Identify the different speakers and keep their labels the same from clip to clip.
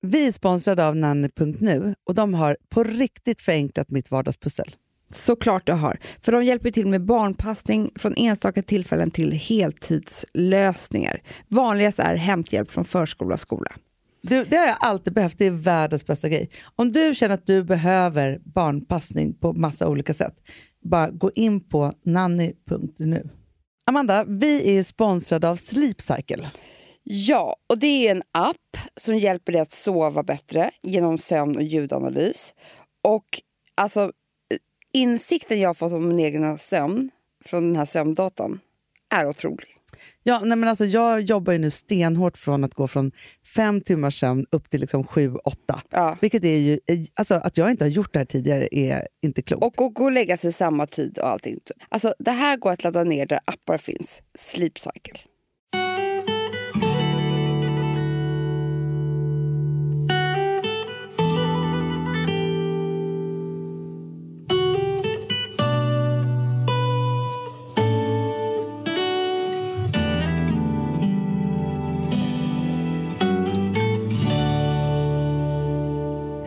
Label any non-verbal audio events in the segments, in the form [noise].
Speaker 1: Vi är sponsrade av nanny.nu och de har på riktigt förenklat mitt vardagspussel.
Speaker 2: Såklart du har, för de hjälper till med barnpassning från enstaka tillfällen till heltidslösningar. Vanligast är hämthjälp från förskola och skola.
Speaker 1: Du, det har jag alltid behövt, det är världens bästa grej. Om du känner att du behöver barnpassning på massa olika sätt, bara gå in på nanny.nu. Amanda, vi är ju sponsrade av Sleep Cycle.
Speaker 2: Ja, och det är en app som hjälper dig att sova bättre genom sömn och ljudanalys. Och alltså, insikten jag har fått om min egna sömn från den här sömndatan är otrolig.
Speaker 1: Ja, nej men alltså, jag jobbar ju nu stenhårt från att gå från fem timmars sömn upp till liksom sju, åtta.
Speaker 2: Ja.
Speaker 1: Vilket är ju, alltså, att jag inte har gjort det här tidigare är inte klokt.
Speaker 2: Och att gå och lägga sig samma tid och allting. Alltså, det här går att ladda ner där appar finns. Sleep Cycle.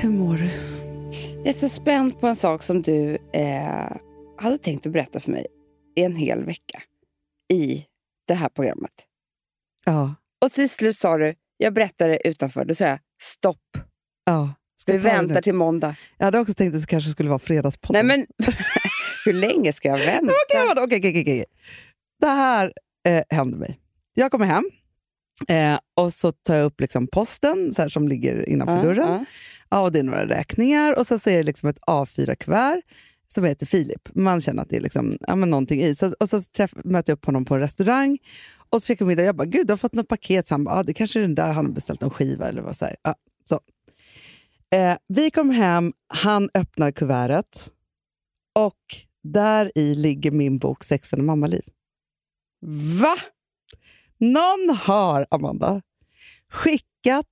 Speaker 1: Hur mår du?
Speaker 2: Jag är så spänd på en sak som du eh, hade tänkt att berätta för mig i en hel vecka i det här programmet.
Speaker 1: Ja,
Speaker 2: Och till slut sa du, jag berättade det utanför, då sa jag stopp,
Speaker 1: ja. Ska
Speaker 2: vi
Speaker 1: jag ta det nu?
Speaker 2: väntar till måndag.
Speaker 1: Jag hade också tänkt att det kanske skulle vara Fredagspodden.
Speaker 2: Nej men, [laughs] hur länge ska
Speaker 1: [laughs]
Speaker 2: jag vänta?
Speaker 1: Okej, vadå? okej, okej, okej, okej. Det här eh, hände mig. Jag kommer hem eh, och så tar jag upp liksom posten så här, som ligger innanför
Speaker 2: Ja,
Speaker 1: dörren.
Speaker 2: ja.
Speaker 1: Ja, och det är några räkningar och sen så är det liksom ett A4-kuvert som heter Filip. Man känner att det är liksom, ja, men någonting i. Så, och så träff, möter jag upp honom på en restaurang och så käkar vi middag. Jag bara, gud du har fått något paket. Så han bara, ah, det kanske är den där han har beställt någon skiva eller vad så här. Ja, så. Eh, vi kom hem, han öppnar kuvertet och där i ligger min bok Sexen och mammaliv.
Speaker 2: Va?
Speaker 1: Någon har, Amanda, skickat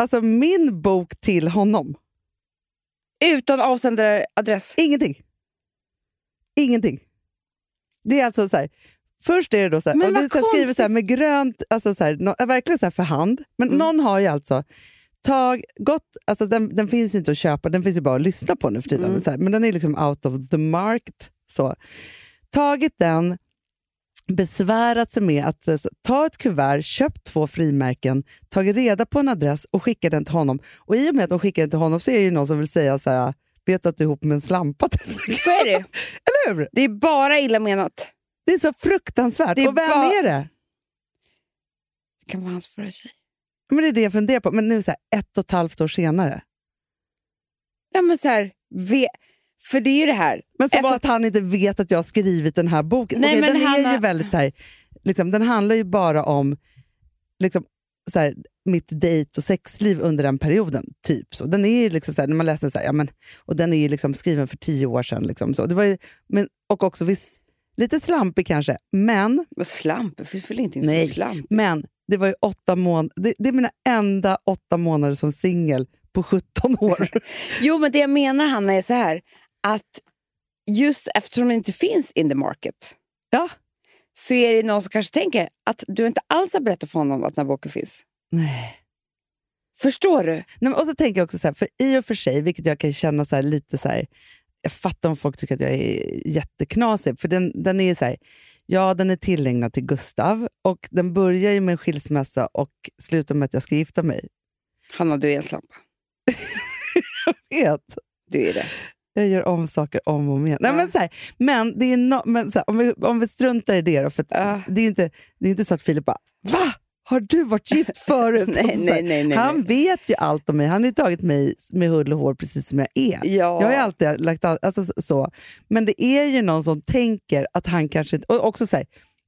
Speaker 1: alltså min bok till honom.
Speaker 2: Utan avsändaradress?
Speaker 1: Ingenting. Ingenting. Det är alltså så här. Först är det då så här,
Speaker 2: Men
Speaker 1: och det
Speaker 2: vad
Speaker 1: är så här skrivet så här
Speaker 2: konstigt.
Speaker 1: med grönt, alltså så här, nå- äh, verkligen så här för hand. Men
Speaker 2: Mm.
Speaker 1: någon har ju alltså tag, gått, alltså den, den finns ju inte att köpa, den finns ju bara att lyssna på nu för tiden.
Speaker 2: Mm.
Speaker 1: Så här, men den är liksom out of the market. Så. Tagit den, besvärat sig med att eh, så- ta ett kuvert, köpt två frimärken, tagit reda på en adress och skickat den till honom. Och i och med att de skickar den till honom så är det ju någon som vill säga så här, vet du att du är ihop med en slampa?
Speaker 2: Så är det
Speaker 1: Eller hur?
Speaker 2: Det är bara illa menat.
Speaker 1: [laughs] Det är så fruktansvärt.
Speaker 2: Det är
Speaker 1: och vem
Speaker 2: bara-
Speaker 1: är det?
Speaker 2: Det kan vara hans förra tjej.
Speaker 1: Men det är det jag funderar på. Men nu så här, ett och ett halvt år senare.
Speaker 2: Ja men så här, ve- för det är ju det här.
Speaker 1: Men som
Speaker 2: Efter-
Speaker 1: att han inte vet att jag har skrivit den här boken.
Speaker 2: Nej,
Speaker 1: Okej,
Speaker 2: men
Speaker 1: den är
Speaker 2: Hanna-
Speaker 1: ju väldigt så här, liksom, Den handlar ju bara om liksom, så här, mitt dejt och sexliv under den perioden. typ så. Den är ju liksom så här, när man läser den så här, ja, men, och den är ju liksom skriven för tio år sedan. Liksom, så. Det var ju, men, och också visst, lite slampig kanske, men
Speaker 2: Men slamp, det finns väl ingenting
Speaker 1: Nej.
Speaker 2: som slamp?
Speaker 1: Men det var ju åtta månader. Det, det är mina enda åtta månader som singel på 17
Speaker 2: [laughs]
Speaker 1: år. [laughs]
Speaker 2: Jo men det jag menar Hanna är så här, att just eftersom det inte finns in the market
Speaker 1: Ja.
Speaker 2: så är det någon som kanske tänker att du inte alls har berättat för honom att den här boken finns.
Speaker 1: Nej.
Speaker 2: Förstår du?
Speaker 1: Nej, men och så tänker jag också så här, för i och för sig, vilket jag kan känna så här, lite så här, jag fattar om folk tycker att jag är jätteknasig, för den, den är ju så här, ja den är tillägnad till Gustav och den börjar ju med en skilsmässa och slutar med att jag ska gifta mig.
Speaker 2: Hanna, du är en slampa.
Speaker 1: Vet.
Speaker 2: Du är det.
Speaker 1: Jag gör om saker om och om igen. Nej,
Speaker 2: Ja.
Speaker 1: men så här, men, det är no, men så här, om, vi, om vi struntar i det då, för att
Speaker 2: Ja.
Speaker 1: det, är ju inte, det är inte så att Filip bara Va? Har du varit gift förut?
Speaker 2: [laughs] [laughs] nej,
Speaker 1: Och så
Speaker 2: nej,
Speaker 1: här,
Speaker 2: nej, nej.
Speaker 1: Han vet ju allt om mig. Han har ju tagit mig med hull och hår precis som jag är.
Speaker 2: Ja.
Speaker 1: Jag har ju alltid lagt all, alltså, så- så. Men det är ju någon som tänker att han kanske inte... Och också så här,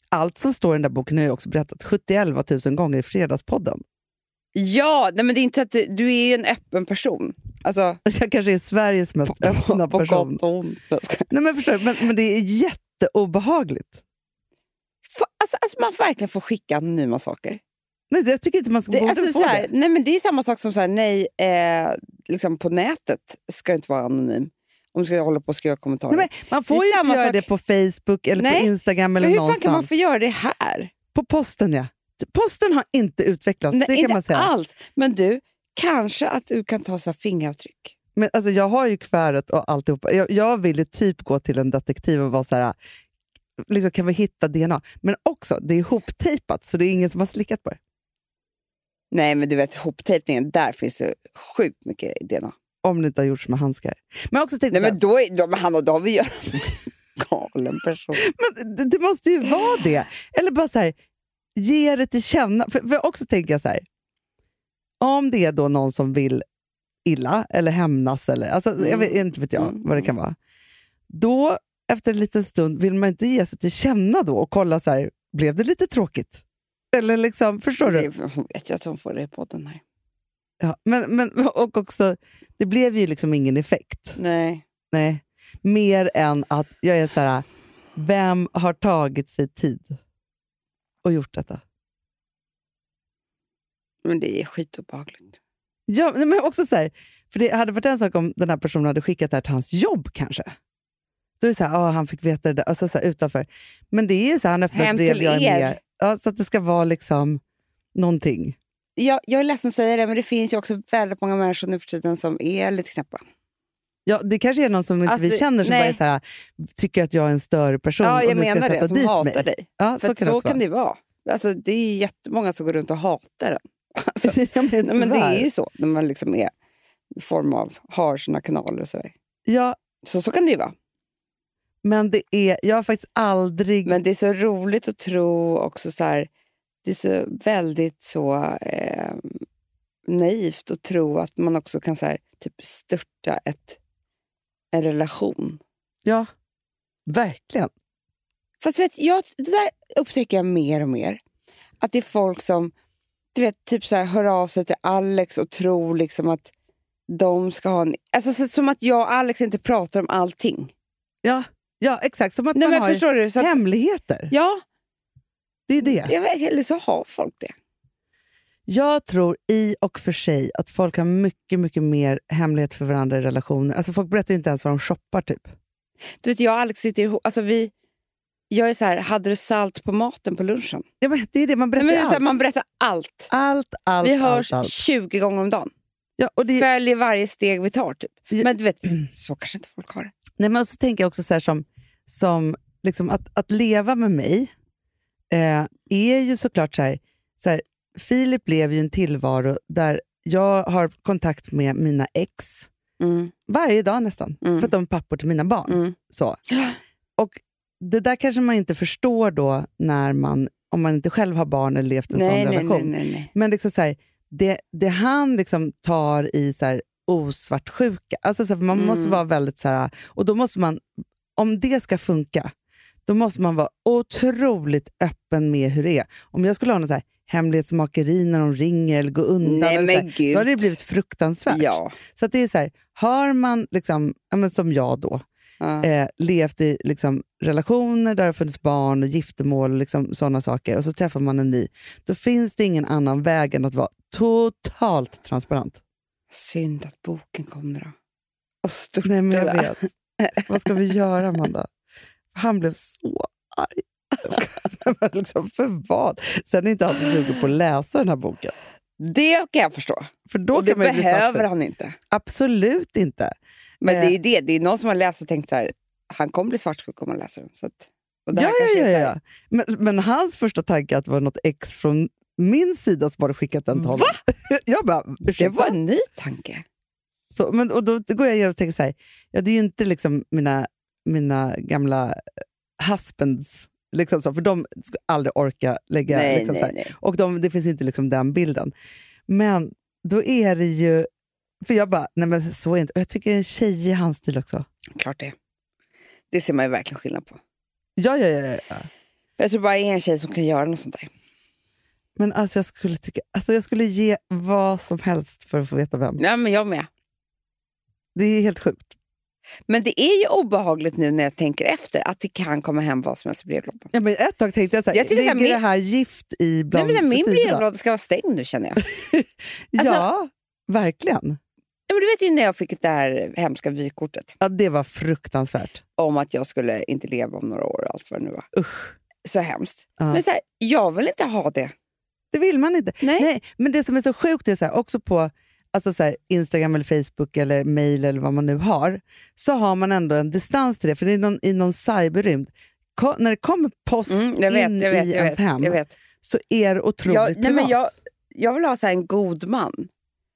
Speaker 1: allt som står i den där boken har jag också berättat 71 000 gånger i Fredagspodden. [laughs]
Speaker 2: Ja, nej, men det är inte att du, du är ju en öppen person. Alltså, [laughs]
Speaker 1: Jag kanske är Sveriges mest öppna
Speaker 2: på
Speaker 1: person.
Speaker 2: gott och ont. Jag skojar.
Speaker 1: Nej, men, förstår, du? men, men det är jätteobehagligt.
Speaker 2: Få- Alltså, alltså man verkligen får skicka anonyma saker.
Speaker 1: Nej, jag tycker inte man ska,
Speaker 2: Det,
Speaker 1: borde
Speaker 2: alltså,
Speaker 1: få
Speaker 2: så här,
Speaker 1: det.
Speaker 2: Nej, men det är samma sak som så här, nej, eh, liksom på nätet ska du inte vara anonym. Om du ska hålla på och skriva kommentarer.
Speaker 1: Nej, men man
Speaker 2: det
Speaker 1: får
Speaker 2: är
Speaker 1: ju inte
Speaker 2: samma
Speaker 1: göra
Speaker 2: sak-
Speaker 1: det på Facebook eller
Speaker 2: Nej,
Speaker 1: på Instagram
Speaker 2: men
Speaker 1: eller
Speaker 2: hur fan
Speaker 1: någonstans.
Speaker 2: kan man få göra det här?
Speaker 1: På posten, ja. Posten har inte utvecklats,
Speaker 2: Nej,
Speaker 1: Alltså, det kan
Speaker 2: inte
Speaker 1: man säga.
Speaker 2: alls. Men du, Kanske att du kan ta så här fingeravtryck.
Speaker 1: Men alltså, jag har ju kväret och alltihopa. Jag, jag vill ju typ gå till en detektiv och vara så här, liksom, kan vi hitta DNA? Men också, det är ihoptejpat så det är ingen som har slickat på det.
Speaker 2: Nej, men du vet hoptejpningen, där finns det sjukt mycket DNA.
Speaker 1: Om det inte har gjorts med handskar. Men också tänkte
Speaker 2: Nej,
Speaker 1: så här,
Speaker 2: men då, är, då, men Hanna, då har vi ju... [laughs] Galen person.
Speaker 1: Men det, det måste ju vara det. Eller bara så här, ge det till känna. För, för också tänker jag så här, om det är då någon som vill illa eller hämnas, eller, alltså, jag vet, inte vet jag
Speaker 2: Mm.
Speaker 1: vad det kan vara. Då, efter en liten stund, vill man inte ge sig till känna då och kolla så här, blev det lite tråkigt? Eller liksom, förstår du?
Speaker 2: Det, hon vet ju att hon får det i podden här.
Speaker 1: Ja, men, men, och också, det blev ju liksom ingen effekt.
Speaker 2: Nej.
Speaker 1: Nej. Mer än att jag är så här, vem har tagit sig tid och gjort detta?
Speaker 2: Men det är skitobehagligt.
Speaker 1: Ja, nej, men också så här, för det hade varit en sak om den här personen hade skickat det här till hans jobb kanske. Då är det så här, ah, han fick veta det där, alltså, så här, utanför. Men det är ju så här, han öppnar
Speaker 2: Hem
Speaker 1: ett brev,
Speaker 2: till
Speaker 1: jag är
Speaker 2: er.
Speaker 1: med. Ja, så att det ska vara liksom någonting.
Speaker 2: Jag, jag är ledsen att säga det, men det finns ju också väldigt många människor nu för tiden som är lite knäppa.
Speaker 1: Ja, det kanske är någon som inte vi
Speaker 2: Alltså,
Speaker 1: känner som
Speaker 2: nej.
Speaker 1: bara är så här, tycker att jag är en större person
Speaker 2: Ja,
Speaker 1: och
Speaker 2: jag
Speaker 1: du ska
Speaker 2: menar
Speaker 1: sätta
Speaker 2: det. Som
Speaker 1: dit
Speaker 2: hatar
Speaker 1: mig.
Speaker 2: dig.
Speaker 1: Ja,
Speaker 2: För
Speaker 1: så
Speaker 2: att
Speaker 1: kan
Speaker 2: så
Speaker 1: det också vara.
Speaker 2: kan det ju vara. Alltså, det är ju jättemånga som går runt och hatar den. [laughs] Alltså,
Speaker 1: [laughs] ja, men,
Speaker 2: nej, men det
Speaker 1: tyvärr.
Speaker 2: är ju så, när man liksom är i form av, har sina kanaler och sådär.
Speaker 1: ja,
Speaker 2: Så, så kan det ju vara.
Speaker 1: Men det är, jag har faktiskt aldrig...
Speaker 2: Men det är så roligt att tro också så här, det är så väldigt så eh, naivt att tro att man också kan så här, typ störta ett, en relation.
Speaker 1: ja, verkligen.
Speaker 2: Fast vet, jag, det där upptäcker jag mer och mer. Att det är folk som du vet, typ så här, hör av sig till Alex och tror liksom att de ska ha en... Alltså, så, som att jag och Alex inte pratar om allting.
Speaker 1: Ja, ja exakt. Som att
Speaker 2: Nej,
Speaker 1: man
Speaker 2: men
Speaker 1: har
Speaker 2: förstår du? Så att,
Speaker 1: hemligheter.
Speaker 2: ja,
Speaker 1: Det är det.
Speaker 2: jag vet, eller så har folk det.
Speaker 1: Jag tror i och för sig att folk har mycket, mycket mer hemlighet för varandra i relationer. Alltså folk berättar ju inte ens vad de shoppar typ.
Speaker 2: Du vet, jag och Alex sitter ihop. Alltså vi, jag är så här, hade du salt på maten på lunchen?
Speaker 1: Ja, men det är det, man
Speaker 2: Nej,
Speaker 1: berättar
Speaker 2: men
Speaker 1: ju
Speaker 2: det är så här,
Speaker 1: allt.
Speaker 2: man berättar allt.
Speaker 1: Allt, allt,
Speaker 2: vi
Speaker 1: allt,
Speaker 2: hörs
Speaker 1: allt.
Speaker 2: 20 gånger om dagen.
Speaker 1: Ja, och det,
Speaker 2: Följer varje steg vi tar. Typ.
Speaker 1: Ja.
Speaker 2: Men du vet, så kanske inte folk har det.
Speaker 1: Nej, men så tänker jag också så här som, som liksom att, att leva med mig eh, är ju såklart så här, så här, Filip lever ju en tillvaro där jag har kontakt med mina ex
Speaker 2: Mm,
Speaker 1: varje dag nästan,
Speaker 2: Mm.
Speaker 1: för att de är pappor till mina barn.
Speaker 2: mm.
Speaker 1: Så. Och det där kanske man inte förstår då när man, om man inte själv har barn eller levt en
Speaker 2: Nej,
Speaker 1: sån
Speaker 2: nej,
Speaker 1: relation.
Speaker 2: nej, nej, nej.
Speaker 1: Men liksom så här, det, det han liksom tar i så här, osvartsjuka, alltså så här, för man
Speaker 2: Mm.
Speaker 1: måste vara väldigt så här, och då måste man, om det ska funka, då måste man vara otroligt öppen med hur det är. Om jag skulle ha något så här, hemlighetsmakeri när de ringer eller gå undan,
Speaker 2: Nej,
Speaker 1: eller så
Speaker 2: men
Speaker 1: här, då hade det
Speaker 2: gud.
Speaker 1: blivit fruktansvärt.
Speaker 2: Ja.
Speaker 1: Så att det är så här, har man, liksom, ja, men som jag då,
Speaker 2: ja.
Speaker 1: eh, levt i liksom, relationer där det har funnits barn och giftermål och liksom, sådana saker och så träffar man en ny, då finns det ingen annan väg än att vara totalt transparent.
Speaker 2: Synd att boken kom nu då. Och stort.
Speaker 1: Nej, men jag
Speaker 2: Det
Speaker 1: vet. Vad ska vi göra, Amanda? Han blev så arg. [laughs] Jag skojar. liksom, för vad? Sen är inte han så sugen på att läsa den här boken.
Speaker 2: Det kan jag förstå.
Speaker 1: För då
Speaker 2: och det
Speaker 1: kan man ju bli
Speaker 2: behöver
Speaker 1: svartsjuk.
Speaker 2: han inte.
Speaker 1: Absolut inte.
Speaker 2: Men
Speaker 1: Eh.
Speaker 2: det är ju det. Det är någon som har läst och tänkt så här, han kommer bli svartsjuk om han läser den. Så att, och det
Speaker 1: Ja,
Speaker 2: här kanske
Speaker 1: ja,
Speaker 2: är så
Speaker 1: ja,
Speaker 2: här-
Speaker 1: ja. Men, men hans första tanke att det var något ex från min sida som hade skickat den till honom. [laughs] Jag bara,
Speaker 2: Det
Speaker 1: ursäkta?
Speaker 2: var en ny tanke.
Speaker 1: Så, men, och då går jag igenom och tänker så här, ja, det är ju inte liksom mina, mina gamla eh, husbands, liksom så, för de skulle aldrig orka lägga...
Speaker 2: nej,
Speaker 1: liksom så
Speaker 2: nej,
Speaker 1: här.
Speaker 2: nej.
Speaker 1: Och de, det finns inte liksom den bilden. Men då är det ju... För jag bara, nej men så är det inte. Och jag tycker det är en tjej i hans stil också.
Speaker 2: Klart det. Det ser man ju verkligen skillnad på.
Speaker 1: Ja, ja, ja. ja, ja.
Speaker 2: Jag tror bara det är en tjej som kan göra något sånt där.
Speaker 1: Men alltså jag, skulle tycka, alltså jag skulle ge vad som helst för att få veta vem.
Speaker 2: Ja, men jag med.
Speaker 1: Det är helt sjukt.
Speaker 2: Men det är ju obehagligt nu när jag tänker efter att det kan komma hem vad som helst i brevlådan.
Speaker 1: Ja, men ett tag tänkte jag så här,
Speaker 2: Jag tycker så
Speaker 1: ligger det
Speaker 2: här, min-
Speaker 1: här gift i
Speaker 2: Nej,
Speaker 1: bland
Speaker 2: men den- min alltså-
Speaker 1: sidorna?
Speaker 2: brevlåda ska vara stängd nu känner jag.
Speaker 1: [laughs]
Speaker 2: Nej,
Speaker 1: Ja, verkligen.
Speaker 2: men du vet ju när jag fick det här hemska vykortet
Speaker 1: Ja, det var fruktansvärt.
Speaker 2: om att jag skulle inte leva om några år och allt vad det nu var.
Speaker 1: Usch.
Speaker 2: Så hemskt.
Speaker 1: Ja.
Speaker 2: Men så här, jag vill inte ha det.
Speaker 1: Det vill man inte.
Speaker 2: Nej.
Speaker 1: Nej, men det som är så sjukt är så här, också på... alltså så här, Instagram, eller Facebook eller mail eller vad man nu har, så har man ändå en distans till det. För det är någon, i någon cyberrymd. Ko- när det kommer post
Speaker 2: Mm, jag vet,
Speaker 1: in
Speaker 2: jag vet,
Speaker 1: i
Speaker 2: jag
Speaker 1: ens
Speaker 2: vet,
Speaker 1: hem
Speaker 2: jag vet.
Speaker 1: så är det otroligt
Speaker 2: Jag, nej,
Speaker 1: privat.
Speaker 2: men jag, jag vill ha så här en god man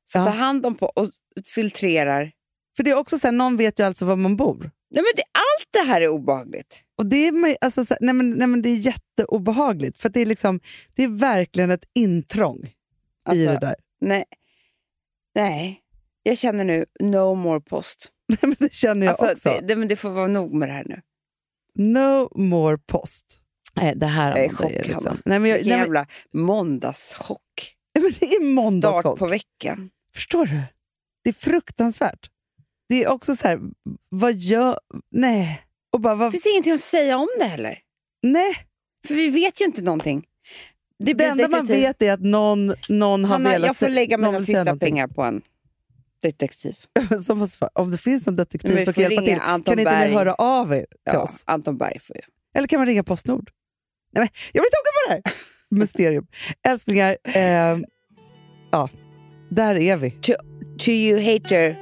Speaker 2: som
Speaker 1: Ja.
Speaker 2: tar hand om på och filtrerar.
Speaker 1: För det är också så här, någon vet ju alltså var man bor.
Speaker 2: Nej, men det, allt det här är obehagligt.
Speaker 1: Och det är, man- alltså, så här, nej, men, nej, men det är jätteobehagligt, för att det, är liksom, det är verkligen ett intrång i
Speaker 2: Alltså,
Speaker 1: det där. [laughs]
Speaker 2: nej, nej, jag känner nu no more post.
Speaker 1: Nej, men det känner jag
Speaker 2: Alltså,
Speaker 1: också.
Speaker 2: det, det, men det får vara nog med det här nu.
Speaker 1: No more post.
Speaker 2: Eh,
Speaker 1: Nej, det här
Speaker 2: Jag är
Speaker 1: Amanda,
Speaker 2: chockad, Hanna.
Speaker 1: Nej, men, jag,
Speaker 2: Vilken
Speaker 1: nej, men,
Speaker 2: jävla måndagschock.
Speaker 1: nej, men det är
Speaker 2: Start
Speaker 1: måndagschock.
Speaker 2: på veckan.
Speaker 1: Förstår du? Det är fruktansvärt. Det är också så här, vad gör... Nej. Och bara,
Speaker 2: Det
Speaker 1: vad,
Speaker 2: finns ingenting att säga om det heller.
Speaker 1: nej.
Speaker 2: För vi vet ju inte någonting.
Speaker 1: Det,
Speaker 2: blir
Speaker 1: enda man
Speaker 2: detektiv.
Speaker 1: vet är att någon, någon har
Speaker 2: Hanna,
Speaker 1: velat...
Speaker 2: jag får lägga
Speaker 1: någon
Speaker 2: mina
Speaker 1: vill säga
Speaker 2: sista
Speaker 1: någonting.
Speaker 2: pengar på en detektiv.
Speaker 1: Som måste, få- om det finns en
Speaker 2: Men
Speaker 1: detektiv som
Speaker 2: vi får
Speaker 1: kan hjälpa
Speaker 2: ringa
Speaker 1: till,
Speaker 2: Anton
Speaker 1: kan inte
Speaker 2: Berg.
Speaker 1: ni höra av er till
Speaker 2: ja,
Speaker 1: oss?
Speaker 2: Anton Berg får ju.
Speaker 1: Eller kan man ringa Postnord? Nej, men, jag blir tokig på det
Speaker 2: [laughs]
Speaker 1: här! Mysterium. Älsklingar, eh, ja, där är vi.
Speaker 2: To you hater,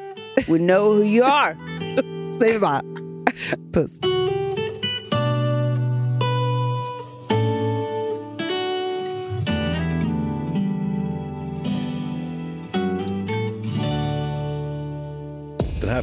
Speaker 2: we know who you are.
Speaker 1: Säger vi bara. Puss.
Speaker 3: Den här